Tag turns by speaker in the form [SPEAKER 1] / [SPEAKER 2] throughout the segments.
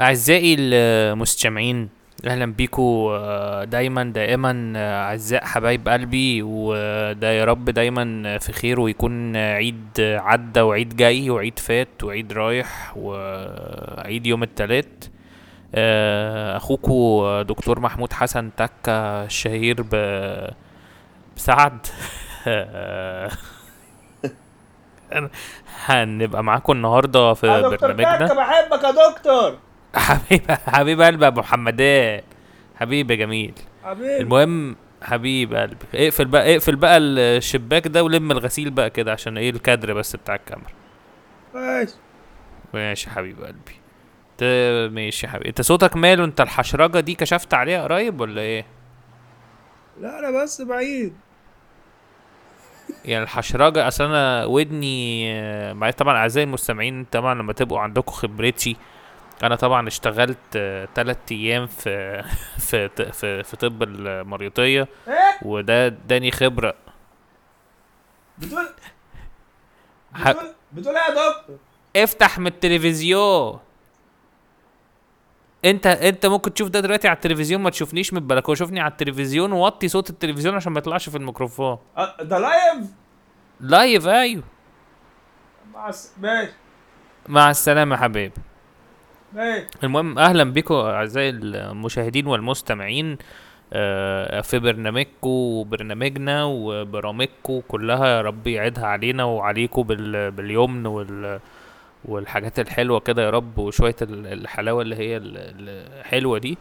[SPEAKER 1] أعزائي المستمعين أهلا بيكو آه، دايما دائما آه، أعزاء حبايب قلبي وده يا رب دايما في خير ويكون عيد عدى وعيد جاي وعيد فات وعيد رايح وعيد يوم التلات آه، أخوكو دكتور محمود حسن تكة الشهير ب- بسعد آه، هنبقى معاكم النهارده في
[SPEAKER 2] يا آه، دكتور
[SPEAKER 1] برنامجنا
[SPEAKER 2] كارت بحبك يا دكتور
[SPEAKER 1] حبيب حبيب قلبي يا ابو محمدان حبيبي يا جميل
[SPEAKER 2] حبيبي
[SPEAKER 1] المهم حبيب قلبي اقفل بقى اقفل بقى الشباك ده ولم الغسيل بقى كده عشان ايه الكادر بس بتاع الكاميرا
[SPEAKER 2] ماشي
[SPEAKER 1] ماشي حبيب قلبي انت ماشي يا حبيبي انت صوتك ماله انت الحشرجه دي كشفت عليها قريب ولا ايه
[SPEAKER 2] لا انا بس بعيد
[SPEAKER 1] يعني الحشرجه اصل انا ودني آه، معايا طبعا اعزائي المستمعين طبعا لما تبقوا عندكم خبرتي انا طبعا اشتغلت ثلاثة ايام في في في, في طب المريضيه
[SPEAKER 2] ايه
[SPEAKER 1] وده اداني خبره
[SPEAKER 2] بتقول
[SPEAKER 1] ح...
[SPEAKER 2] بتقول بتقول ايه يا دكتور
[SPEAKER 1] افتح من التلفزيون انت انت ممكن تشوف ده دلوقتي على التلفزيون ما تشوفنيش من البلكونه شوفني على التلفزيون ووطي صوت التلفزيون عشان ما يطلعش في الميكروفون
[SPEAKER 2] أه، ده لايف
[SPEAKER 1] لايف ايوه
[SPEAKER 2] مع الس- ماشي
[SPEAKER 1] مع السلامه يا حبيبي
[SPEAKER 2] ماشي
[SPEAKER 1] المهم اهلا بكم اعزائي المشاهدين والمستمعين آه، في برنامجكم وبرنامجنا وبرامجكم كلها يا رب يعيدها علينا وعليكم بال- باليمن وال والحاجات الحلوه كده يا رب وشويه ال- الحلاوه اللي هي ال- الحلوه دي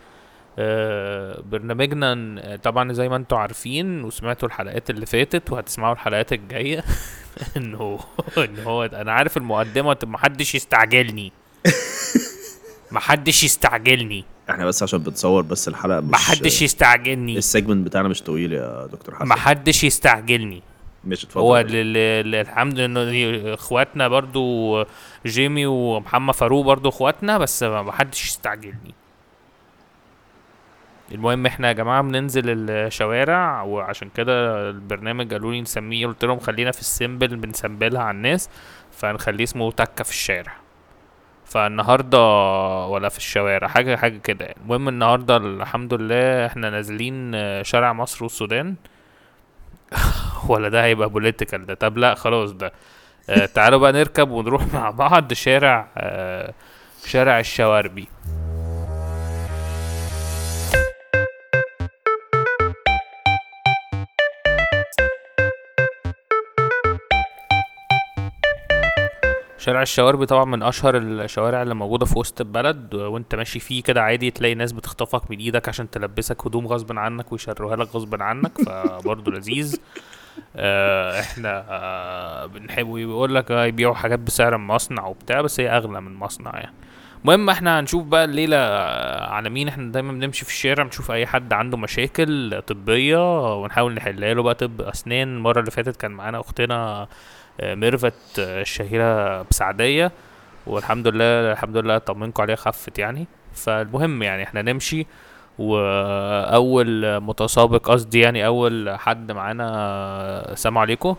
[SPEAKER 1] آه، برنامجنا ن- طبعا زي ما انتم عارفين وسمعتوا الحلقات اللي فاتت وهتسمعوا الحلقات الجايه انه ان هو انا عارف المقدمه محدش يستعجلني محدش يستعجلني
[SPEAKER 3] احنا بس عشان بنصور بس الحلقه مش
[SPEAKER 1] محدش يستعجلني
[SPEAKER 3] السيجمنت بتاعنا مش طويل يا دكتور حسن
[SPEAKER 1] محدش يستعجلني
[SPEAKER 3] مش اتفضل
[SPEAKER 1] هو لل- لل- الحمد لله اخواتنا برضو جيمي ومحمد فاروق برضو اخواتنا بس ما ما حدش يستعجلني المهم احنا يا جماعه بننزل الشوارع وعشان كده البرنامج قالوا لي نسميه قلت لهم خلينا في السيمبل بنسمبلها على الناس فنخليه اسمه تكه في الشارع فالنهارده ولا في الشوارع حاجه حاجه كده يعني. المهم النهارده الحمد لله احنا نازلين شارع مصر والسودان ولا ده هيبقى بوليتيكال ده طب لا خلاص ده آه تعالوا بقى نركب ونروح مع بعض شارع آه شارع الشواربي شارع الشواربي طبعا من اشهر الشوارع اللي موجوده في وسط البلد وانت ماشي فيه كده عادي تلاقي ناس بتخطفك من ايدك عشان تلبسك هدوم غصب عنك ويشروها لك غصب عنك فبرضه لذيذ آه، احنا آه، بنحب بيقول لك آه، يبيعوا حاجات بسعر المصنع وبتاع بس هي اغلى من المصنع يعني المهم احنا هنشوف بقى الليله آه، على مين احنا دايما بنمشي في الشارع نشوف اي حد عنده مشاكل طبيه ونحاول نحلها له بقى طب اسنان المره اللي فاتت كان معانا اختنا آه، ميرفت آه، الشهيره بسعديه والحمد لله الحمد لله طمنكم عليها خفت يعني فالمهم يعني احنا نمشي واول متسابق قصدي يعني اول حد معانا سلام عليكم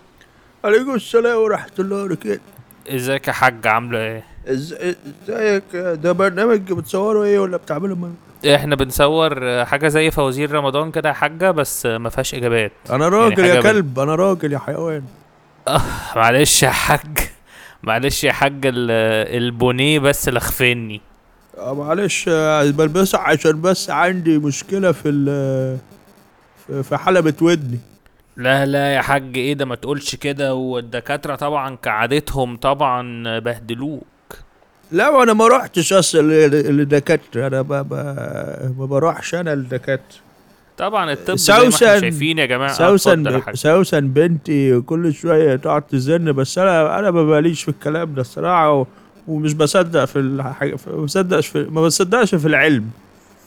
[SPEAKER 3] عليكم السلام ورحمه الله وبركاته
[SPEAKER 1] ازيك يا حاج عامله ايه
[SPEAKER 3] ازيك ده برنامج بتصوره ايه ولا بتعمله
[SPEAKER 1] احنا بنصور حاجه زي فوازير رمضان كده يا حاجه بس ما فيهاش اجابات
[SPEAKER 3] انا
[SPEAKER 1] راجل
[SPEAKER 3] راجل
[SPEAKER 1] يا يعني حاجة
[SPEAKER 3] يا
[SPEAKER 1] بت-
[SPEAKER 3] كلب انا راجل يا حيوان
[SPEAKER 1] معلش يا حاج معلش يا حاج ال- البونيه بس لخفني
[SPEAKER 3] آه، معلش بلبسها عشان بس عندي مشكله في في حلبة ودني
[SPEAKER 1] لا لا يا حاج ايه ده ما تقولش كده والدكاتره طبعا كعادتهم طبعا بهدلوه
[SPEAKER 3] لا انا ما رحتش اصلا للدكاتره انا ما, ما, ما بروحش انا للدكاتره
[SPEAKER 1] طبعا الطب زي ما احنا
[SPEAKER 3] سوسن-
[SPEAKER 1] شايفين يا جماعه آه، اتفضل يا
[SPEAKER 3] سوسن
[SPEAKER 1] حاج.
[SPEAKER 3] سوسن بنتي كل شويه تقعد تزن بس انا انا ما ماليش في الكلام ده الصراحه و- ومش بصدق في الحاجه في- ما بصدقش في ما بصدقش في العلم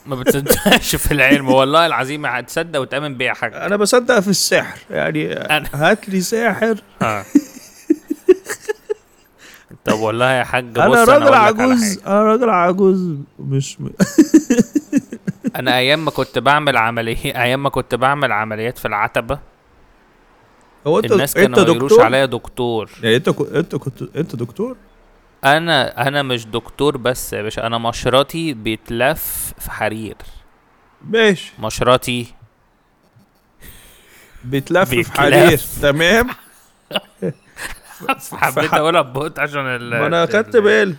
[SPEAKER 1] ما بتصدقش في العلم والله العظيم هتصدق وتامن بيها يا حاج
[SPEAKER 3] انا بصدق في السحر يعني
[SPEAKER 1] أنا-
[SPEAKER 3] هات لي ساحر
[SPEAKER 1] ها. طب والله يا حاج بص
[SPEAKER 3] انا
[SPEAKER 1] أقول
[SPEAKER 3] راجل
[SPEAKER 1] لك على
[SPEAKER 3] عجوز انا راجل عجوز مش م...
[SPEAKER 1] حاجة. انا ايام ما كنت بعمل عمليه ايام ما كنت بعمل عمليات في العتبه
[SPEAKER 3] هو انت
[SPEAKER 1] الناس
[SPEAKER 3] انت
[SPEAKER 1] كانوا ما يقولوش
[SPEAKER 3] دكتور
[SPEAKER 1] عليا دكتور
[SPEAKER 3] يعني انت كو- انت كنت انت دكتور
[SPEAKER 1] انا انا مش دكتور بس يا باشا انا مشرطي بيتلف في حرير
[SPEAKER 3] ماشي
[SPEAKER 1] مشرطي
[SPEAKER 3] بيتلف في
[SPEAKER 1] بيتلف.
[SPEAKER 3] حرير تمام
[SPEAKER 1] حبيت اقولها ببطء عشان ال
[SPEAKER 3] ما انا
[SPEAKER 1] ال-
[SPEAKER 3] اخدت بالي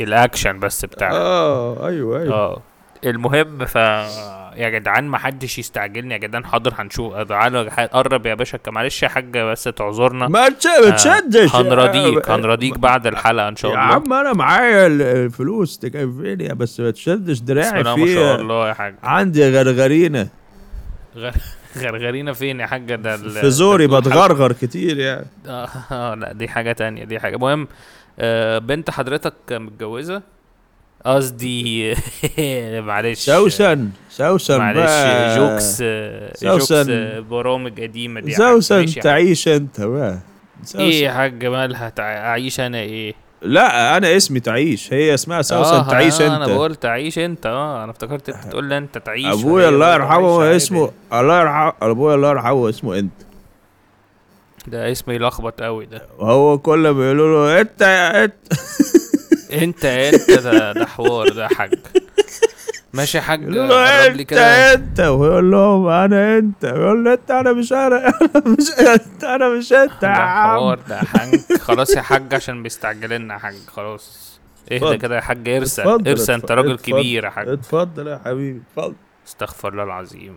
[SPEAKER 1] الاكشن بس بتاعك
[SPEAKER 3] اه ايوه ايوه
[SPEAKER 1] اه المهم ف يا جدعان ما حدش يستعجلني يا جدعان حاضر هنشوف تعالوا يا جدعان، قرب يا باشا معلش يا حاجه بس تعذرنا
[SPEAKER 3] ما تش-
[SPEAKER 1] آه،
[SPEAKER 3] ما تشدش
[SPEAKER 1] هنراضيك
[SPEAKER 3] آه،
[SPEAKER 1] هنراضيك بعد الحلقه ان شاء
[SPEAKER 3] يا
[SPEAKER 1] الله
[SPEAKER 3] عم انا معايا ال- الفلوس تكفيني بس ما تشدش
[SPEAKER 1] بسم
[SPEAKER 3] دراعي
[SPEAKER 1] الله ما شاء
[SPEAKER 3] فيه
[SPEAKER 1] الله يا حاج
[SPEAKER 3] عندي غرغرينه
[SPEAKER 1] غر- غرغرينا فين يا حاجه ده ال-
[SPEAKER 3] في زوري
[SPEAKER 1] ده الحلقة
[SPEAKER 3] بتغرغر كتير يعني
[SPEAKER 1] آه، آه لا دي حاجة تانية دي حاجة المهم آه بنت حضرتك متجوزة قصدي معلش
[SPEAKER 3] سوسن سوسن
[SPEAKER 1] معلش
[SPEAKER 3] بقى.
[SPEAKER 1] جوكس آه، جوكس
[SPEAKER 3] سوسن.
[SPEAKER 1] آه، برامج قديمة دي يا حاج.
[SPEAKER 3] سوسن
[SPEAKER 1] ماشي يا حاج.
[SPEAKER 3] تعيش انت بقى سوسن.
[SPEAKER 1] ايه يا حاج مالها تع- اعيش انا ايه
[SPEAKER 3] لا انا اسمي تعيش هي اسمها سوسن
[SPEAKER 1] آه،
[SPEAKER 3] تعيش
[SPEAKER 1] آه،
[SPEAKER 3] انت
[SPEAKER 1] انا بقول تعيش انت اه انا افتكرت انت تقول لي انت تعيش
[SPEAKER 3] ابويا
[SPEAKER 1] وهي
[SPEAKER 3] الله
[SPEAKER 1] بتقول عيش
[SPEAKER 3] يرحمه
[SPEAKER 1] عادي.
[SPEAKER 3] اسمه الله يرحمه ابويا الله يرحمه اسمه انت
[SPEAKER 1] ده اسمي لخبط قوي ده
[SPEAKER 3] وهو كل ما يقولوا له انت يا انت
[SPEAKER 1] انت انت ده, ده حوار ده يا حاج ماشي يا حاج
[SPEAKER 3] يقولوا له
[SPEAKER 1] قرب لي
[SPEAKER 3] انت
[SPEAKER 1] كده
[SPEAKER 3] انت ويقول لهم انا انت يقول له انت انا مش انا انا مش انت انا مش انت
[SPEAKER 1] ده
[SPEAKER 3] يا عم
[SPEAKER 1] حوار ده يا حاج خلاص يا حاج عشان مستعجلنا يا حاج خلاص اهدى
[SPEAKER 3] اتفضل.
[SPEAKER 1] كده يا حاج ارسى
[SPEAKER 3] اتفضل،
[SPEAKER 1] ارسى انت
[SPEAKER 3] اتفضل،
[SPEAKER 1] راجل
[SPEAKER 3] اتفضل.
[SPEAKER 1] كبير يا حاج
[SPEAKER 3] اتفضل يا حبيبي اتفضل
[SPEAKER 1] استغفر الله العظيم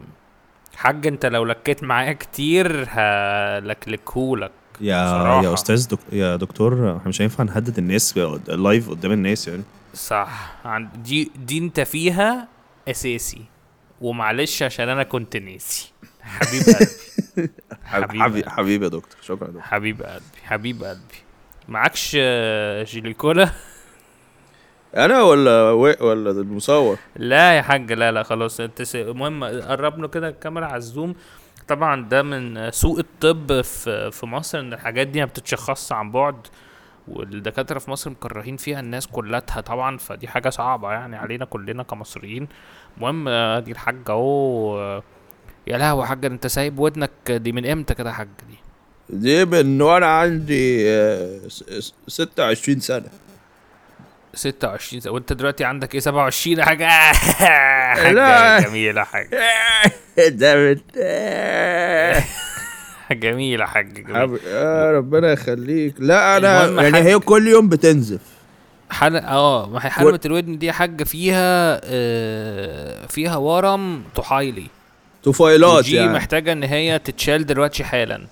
[SPEAKER 1] حاج انت لو لكيت معايا كتير هلكلكهولك
[SPEAKER 4] يا
[SPEAKER 1] بصراحة.
[SPEAKER 4] يا استاذ دك... يا دكتور احنا مش هينفع نهدد الناس قد- لايف قدام الناس يعني
[SPEAKER 1] صح عن- دي دي انت فيها اساسي ومعلش عشان انا كنت ناسي حبيب قلبي حبيب
[SPEAKER 4] حبيبي حبيبي يا دكتور شكرا يا دكتور
[SPEAKER 1] حبيب قلبي حبيب قلبي معكش آه، جيليكولا
[SPEAKER 4] انا ولا ولا المصور
[SPEAKER 1] لا يا حاج لا لا خلاص انت س- المهم قربنا كده الكاميرا على الزوم طبعا ده من سوء الطب في في مصر ان الحاجات دي ما بتتشخصش عن بعد والدكاتره في مصر مكرهين فيها الناس كلها طبعا فدي حاجه صعبه يعني علينا كلنا كمصريين المهم آه، دي الحاجه اهو آه، يا لهوي يا حاج انت سايب ودنك دي من امتى كده يا حاج دي
[SPEAKER 3] دي من وانا عندي آه، س- س- 26 سنه
[SPEAKER 1] 26 سنة، وانت دلوقتي عندك ايه 27 يا حاجه حاجه
[SPEAKER 3] لا.
[SPEAKER 1] جميله حاجه
[SPEAKER 3] ده بت- آه.
[SPEAKER 1] جميله حاجه جميله
[SPEAKER 3] حبيبي آه ربنا يخليك لا انا
[SPEAKER 1] المهم
[SPEAKER 3] يعني
[SPEAKER 1] حاج-
[SPEAKER 3] هي كل يوم بتنزف
[SPEAKER 1] حلقة اه ما هي حلقة الودن دي يا حاج فيها آه فيها ورم طحايلي
[SPEAKER 3] طفيلات
[SPEAKER 1] ودي
[SPEAKER 3] يعني
[SPEAKER 1] محتاجة ان هي تتشال دلوقتي حالا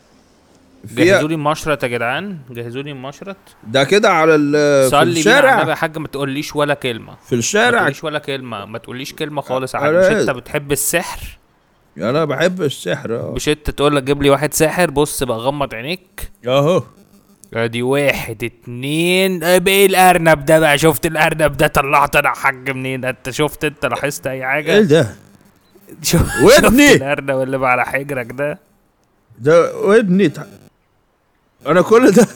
[SPEAKER 1] جهزوا
[SPEAKER 3] فيها
[SPEAKER 1] لي المشرط يا جدعان جهزوا لي المشرط
[SPEAKER 3] ده كده على ال- آه، في
[SPEAKER 1] صلي بينا على النبي
[SPEAKER 3] الشارع
[SPEAKER 1] يا حاج ما تقوليش ولا كلمة
[SPEAKER 3] في
[SPEAKER 1] ما
[SPEAKER 3] الشارع
[SPEAKER 1] تقوليش ولا كلمة ما تقوليش كلمة خالص يا حاج
[SPEAKER 3] أنا
[SPEAKER 1] مش انت
[SPEAKER 3] آسف.
[SPEAKER 1] بتحب السحر
[SPEAKER 3] انا بحب السحر آه.
[SPEAKER 1] مش انت تقول لك جيب لي واحد ساحر بص بقى غمض عينيك
[SPEAKER 3] اهو
[SPEAKER 1] ادي واحد اتنين اب ايه الارنب ده بقى شفت الارنب ده طلعت انا يا حاج منين انت شفت انت لاحظت اي حاجة
[SPEAKER 3] ايه ده
[SPEAKER 1] شوف
[SPEAKER 3] ودني!
[SPEAKER 1] شفت الارنب اللي بقى على حجرك ده
[SPEAKER 3] ده ودني تع... انا كل ده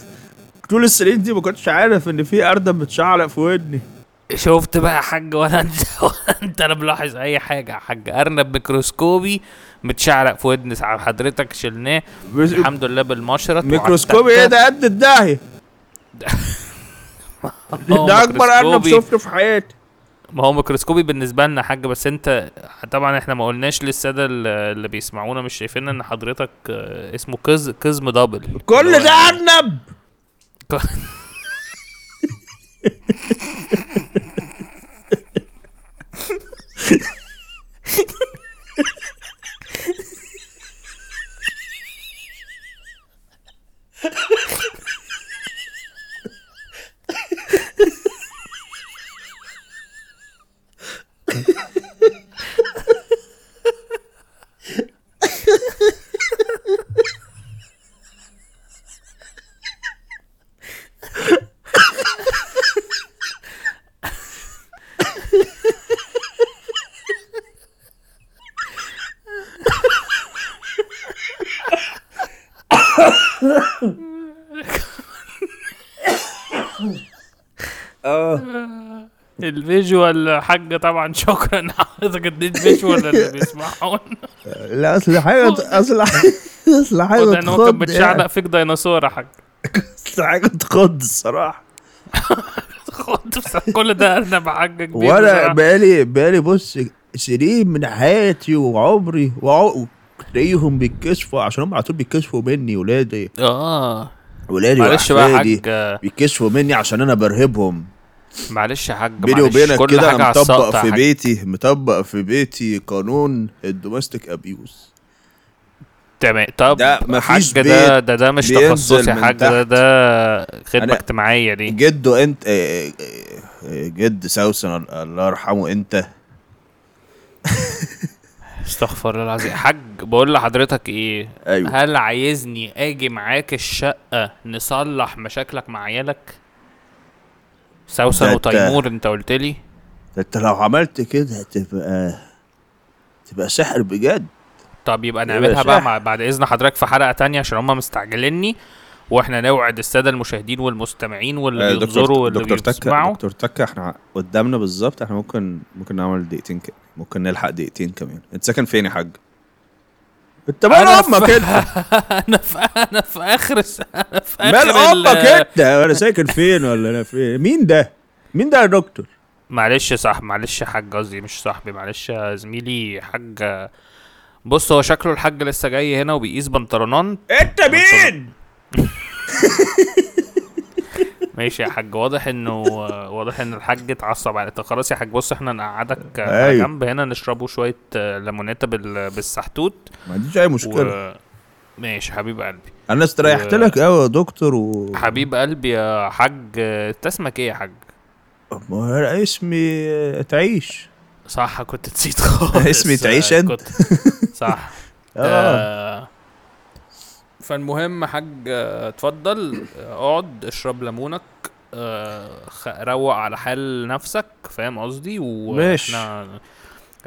[SPEAKER 3] طول السنين دي ما كنتش عارف ان في اردم بتشعلق في ودني
[SPEAKER 1] شفت بقى يا حاج ولا انت ولا انت لا ملاحظ اي حاجه يا حاج ارنب ميكروسكوبي متشعلق في ودن سع- حضرتك شلناه
[SPEAKER 3] بس-
[SPEAKER 1] الحمد لله بالمشرط
[SPEAKER 3] ميكروسكوب ايه ده قد الداهيه
[SPEAKER 1] آه، اه،
[SPEAKER 3] ده اكبر ارنب
[SPEAKER 1] شوف
[SPEAKER 3] شفته في حياتي
[SPEAKER 1] ما هو ميكروسكوبي بالنسبه لنا يا حاج بس انت طبعا احنا ما قلناش للساده ال- اللي بيسمعونا مش شايفين ان حضرتك آه، اسمه كز كزم دبل
[SPEAKER 3] كل
[SPEAKER 1] اللي هو
[SPEAKER 3] ده
[SPEAKER 1] يعني-
[SPEAKER 3] ارنب
[SPEAKER 1] آه.
[SPEAKER 3] اه
[SPEAKER 1] الفيجوال حاجه طبعا شكرا لحضرتك اديت فيجوال اللي بيسمعونا
[SPEAKER 3] لا اصل حاجه اصل اصل حاجه
[SPEAKER 1] وده ان هو كان
[SPEAKER 3] تخض
[SPEAKER 1] بتشعلق
[SPEAKER 3] يعني.
[SPEAKER 1] فيك ديناصور يا حاج
[SPEAKER 3] اصل حاجه تخض الصراحه
[SPEAKER 1] خد بس- كل ده انا بحاجة كبيرة
[SPEAKER 3] وانا
[SPEAKER 1] بصراحة.
[SPEAKER 3] بقالي بقالي بص سنين من حياتي وعمري وعقل تلاقيهم بيتكسفوا عشان هم على طول بيتكسفوا مني ولادي
[SPEAKER 1] اه
[SPEAKER 3] ولادي
[SPEAKER 1] معلش بقى يا
[SPEAKER 3] واحفادي
[SPEAKER 1] حاج آه،
[SPEAKER 3] بيتكسفوا مني عشان انا برهبهم
[SPEAKER 1] معلش يا حاج
[SPEAKER 3] بيني
[SPEAKER 1] معلش،
[SPEAKER 3] وبينك
[SPEAKER 1] كل
[SPEAKER 3] كده
[SPEAKER 1] حاجة
[SPEAKER 3] انا
[SPEAKER 1] على السقط
[SPEAKER 3] مطبق
[SPEAKER 1] يا
[SPEAKER 3] في
[SPEAKER 1] حاج.
[SPEAKER 3] بيتي مطبق في بيتي قانون الدومستيك ابيوز
[SPEAKER 1] تمام طب
[SPEAKER 3] ده مفيش
[SPEAKER 1] حاجة ده
[SPEAKER 3] بيت
[SPEAKER 1] ده ده مش
[SPEAKER 3] بينزل
[SPEAKER 1] تخصصي يا
[SPEAKER 3] من
[SPEAKER 1] حاج ده
[SPEAKER 3] تحت.
[SPEAKER 1] ده خدمة
[SPEAKER 3] أنا-
[SPEAKER 1] اجتماعية دي
[SPEAKER 3] جده انت آه، آه، آه، جد سوسن الله يرحمه انت
[SPEAKER 1] استغفر الله العظيم حاج بقول لحضرتك ايه
[SPEAKER 3] ايوه
[SPEAKER 1] هل عايزني اجي معاك الشقة نصلح مشاكلك مع عيالك
[SPEAKER 3] ده
[SPEAKER 1] سوسن
[SPEAKER 3] أنت-
[SPEAKER 1] وتيمور انت قلت لي
[SPEAKER 3] ده انت لو عملت كده هتبقى تبقى سحر بجد
[SPEAKER 1] طب يبقى
[SPEAKER 3] يا
[SPEAKER 1] نعملها بقى
[SPEAKER 3] باشا.
[SPEAKER 1] مع بعد اذن حضرتك في حلقه تانية عشان هم مستعجليني واحنا نوعد الساده المشاهدين والمستمعين واللي
[SPEAKER 4] آه،
[SPEAKER 1] بينظروا واللي
[SPEAKER 4] دكتور تكه
[SPEAKER 1] بيسمعوا
[SPEAKER 4] دكتور تكه احنا قدامنا بالظبط احنا ممكن ممكن نعمل دقيقتين كده ممكن نلحق دقيقتين كمان انت ساكن فين يا حاج؟
[SPEAKER 3] انت مال
[SPEAKER 1] أنا في-
[SPEAKER 3] امك انت
[SPEAKER 1] انا في انا في اخر الس- انا في
[SPEAKER 3] مال
[SPEAKER 1] آخر ال-
[SPEAKER 3] امك انت انا ساكن فين ولا انا فين مين ده مين ده يا دكتور
[SPEAKER 1] معلش يا صاحبي معلش يا حاج قصدي مش صاحبي معلش يا زميلي حاج بص هو شكله الحاج لسه جاي هنا وبيقيس بنطلونان
[SPEAKER 3] انت مين
[SPEAKER 1] ماشي يا حاج واضح انه واضح ان الحاج اتعصب على طب خلاص يا حاج بص احنا نقعدك على
[SPEAKER 3] أيوة.
[SPEAKER 4] أيوه.
[SPEAKER 1] جنب هنا نشربوا شويه آه، ليموناته بال- بالسحتوت
[SPEAKER 3] ما عنديش اي مشكله
[SPEAKER 1] و... ماشي حبيب قلبي
[SPEAKER 3] انا استريحت
[SPEAKER 1] و-
[SPEAKER 3] لك قوي يا دكتور و
[SPEAKER 1] حبيب قلبي يا حاج انت اسمك ايه يا حاج
[SPEAKER 3] ما أنا اسمي تعيش
[SPEAKER 1] صح كنت نسيت خالص
[SPEAKER 4] اسمي تعيش
[SPEAKER 1] آه،
[SPEAKER 4] أنت.
[SPEAKER 1] كنت... صح
[SPEAKER 3] اه
[SPEAKER 1] آه، فالمهم يا حاج آه، اتفضل آه، اقعد اشرب ليمونك آه، خ- روق على حال نفسك فاهم قصدي
[SPEAKER 3] ماشي.
[SPEAKER 1] واحنا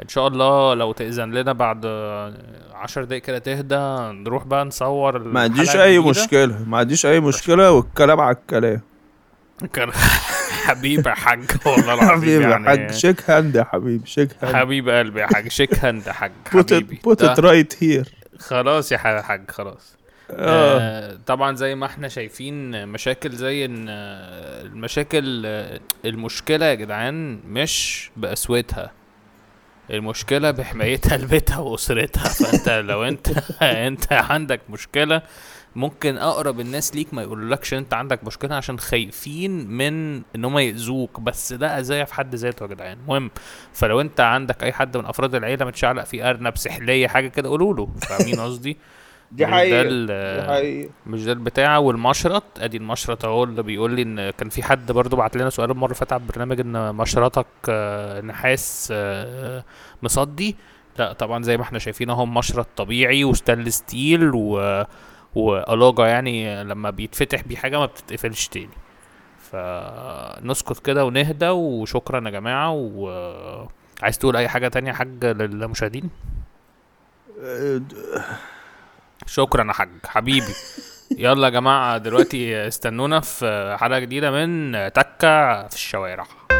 [SPEAKER 1] ان شاء الله لو تأذن لنا بعد آه، عشر دقايق كده تهدى نروح بقى نصور
[SPEAKER 4] ما
[SPEAKER 1] الحلقة
[SPEAKER 4] عنديش
[SPEAKER 1] الجديدة.
[SPEAKER 3] مشكله ما عنديش اي مشكله والكلام على الكلام
[SPEAKER 1] كان حبيبي يا حاج والله العظيم
[SPEAKER 3] حبيبي يا
[SPEAKER 1] يعني
[SPEAKER 3] حاج شيك هاند يا حبيبي شيك هاند
[SPEAKER 1] حبيب قلبي يا حاج شيك هاند يا حاج
[SPEAKER 3] بوت
[SPEAKER 1] حبيبي آه.
[SPEAKER 3] بوت
[SPEAKER 1] ده-
[SPEAKER 3] رايت هير
[SPEAKER 1] خلاص يا ح- حاج خلاص
[SPEAKER 3] اه
[SPEAKER 1] آه طبعا زي ما احنا شايفين مشاكل زي ان آه، المشاكل آه، المشكله يا جدعان مش بقسوتها المشكله بحمايتها لبيتها واسرتها فانت لو انت انت عندك مشكله ممكن اقرب الناس ليك ما يقولولكش انت عندك مشكله عشان خايفين من ان هم يأذوك بس ده اذيه في حد ذاته يا جدعان المهم فلو انت عندك اي حد من افراد العيله متشعلق فيه ارنب سحليه حاجه كده قولوا له فاهمين قصدي
[SPEAKER 3] دي
[SPEAKER 1] مش
[SPEAKER 3] حقيقة،
[SPEAKER 1] ده ال- مش ده البتاع والمشرط ادي المشرط اهو اللي بيقول لي ان كان في حد برضو بعت لنا سؤال المره اللي فاتت على البرنامج ان مشرطك آه، نحاس آه، مصدي لا طبعا زي ما احنا شايفين اهو مشرط طبيعي وستانلس ستيل و وألاجة يعني لما بيتفتح بيه حاجه ما بتتقفلش تاني فنسكت كده ونهدى وشكرا يا جماعه و عايز تقول اي حاجه تانية يا حاج للمشاهدين
[SPEAKER 3] آه،
[SPEAKER 1] شكرا يا حاج حبيبي يلا يا جماعه دلوقتي استنونا في حلقه جديده من تكه في الشوارع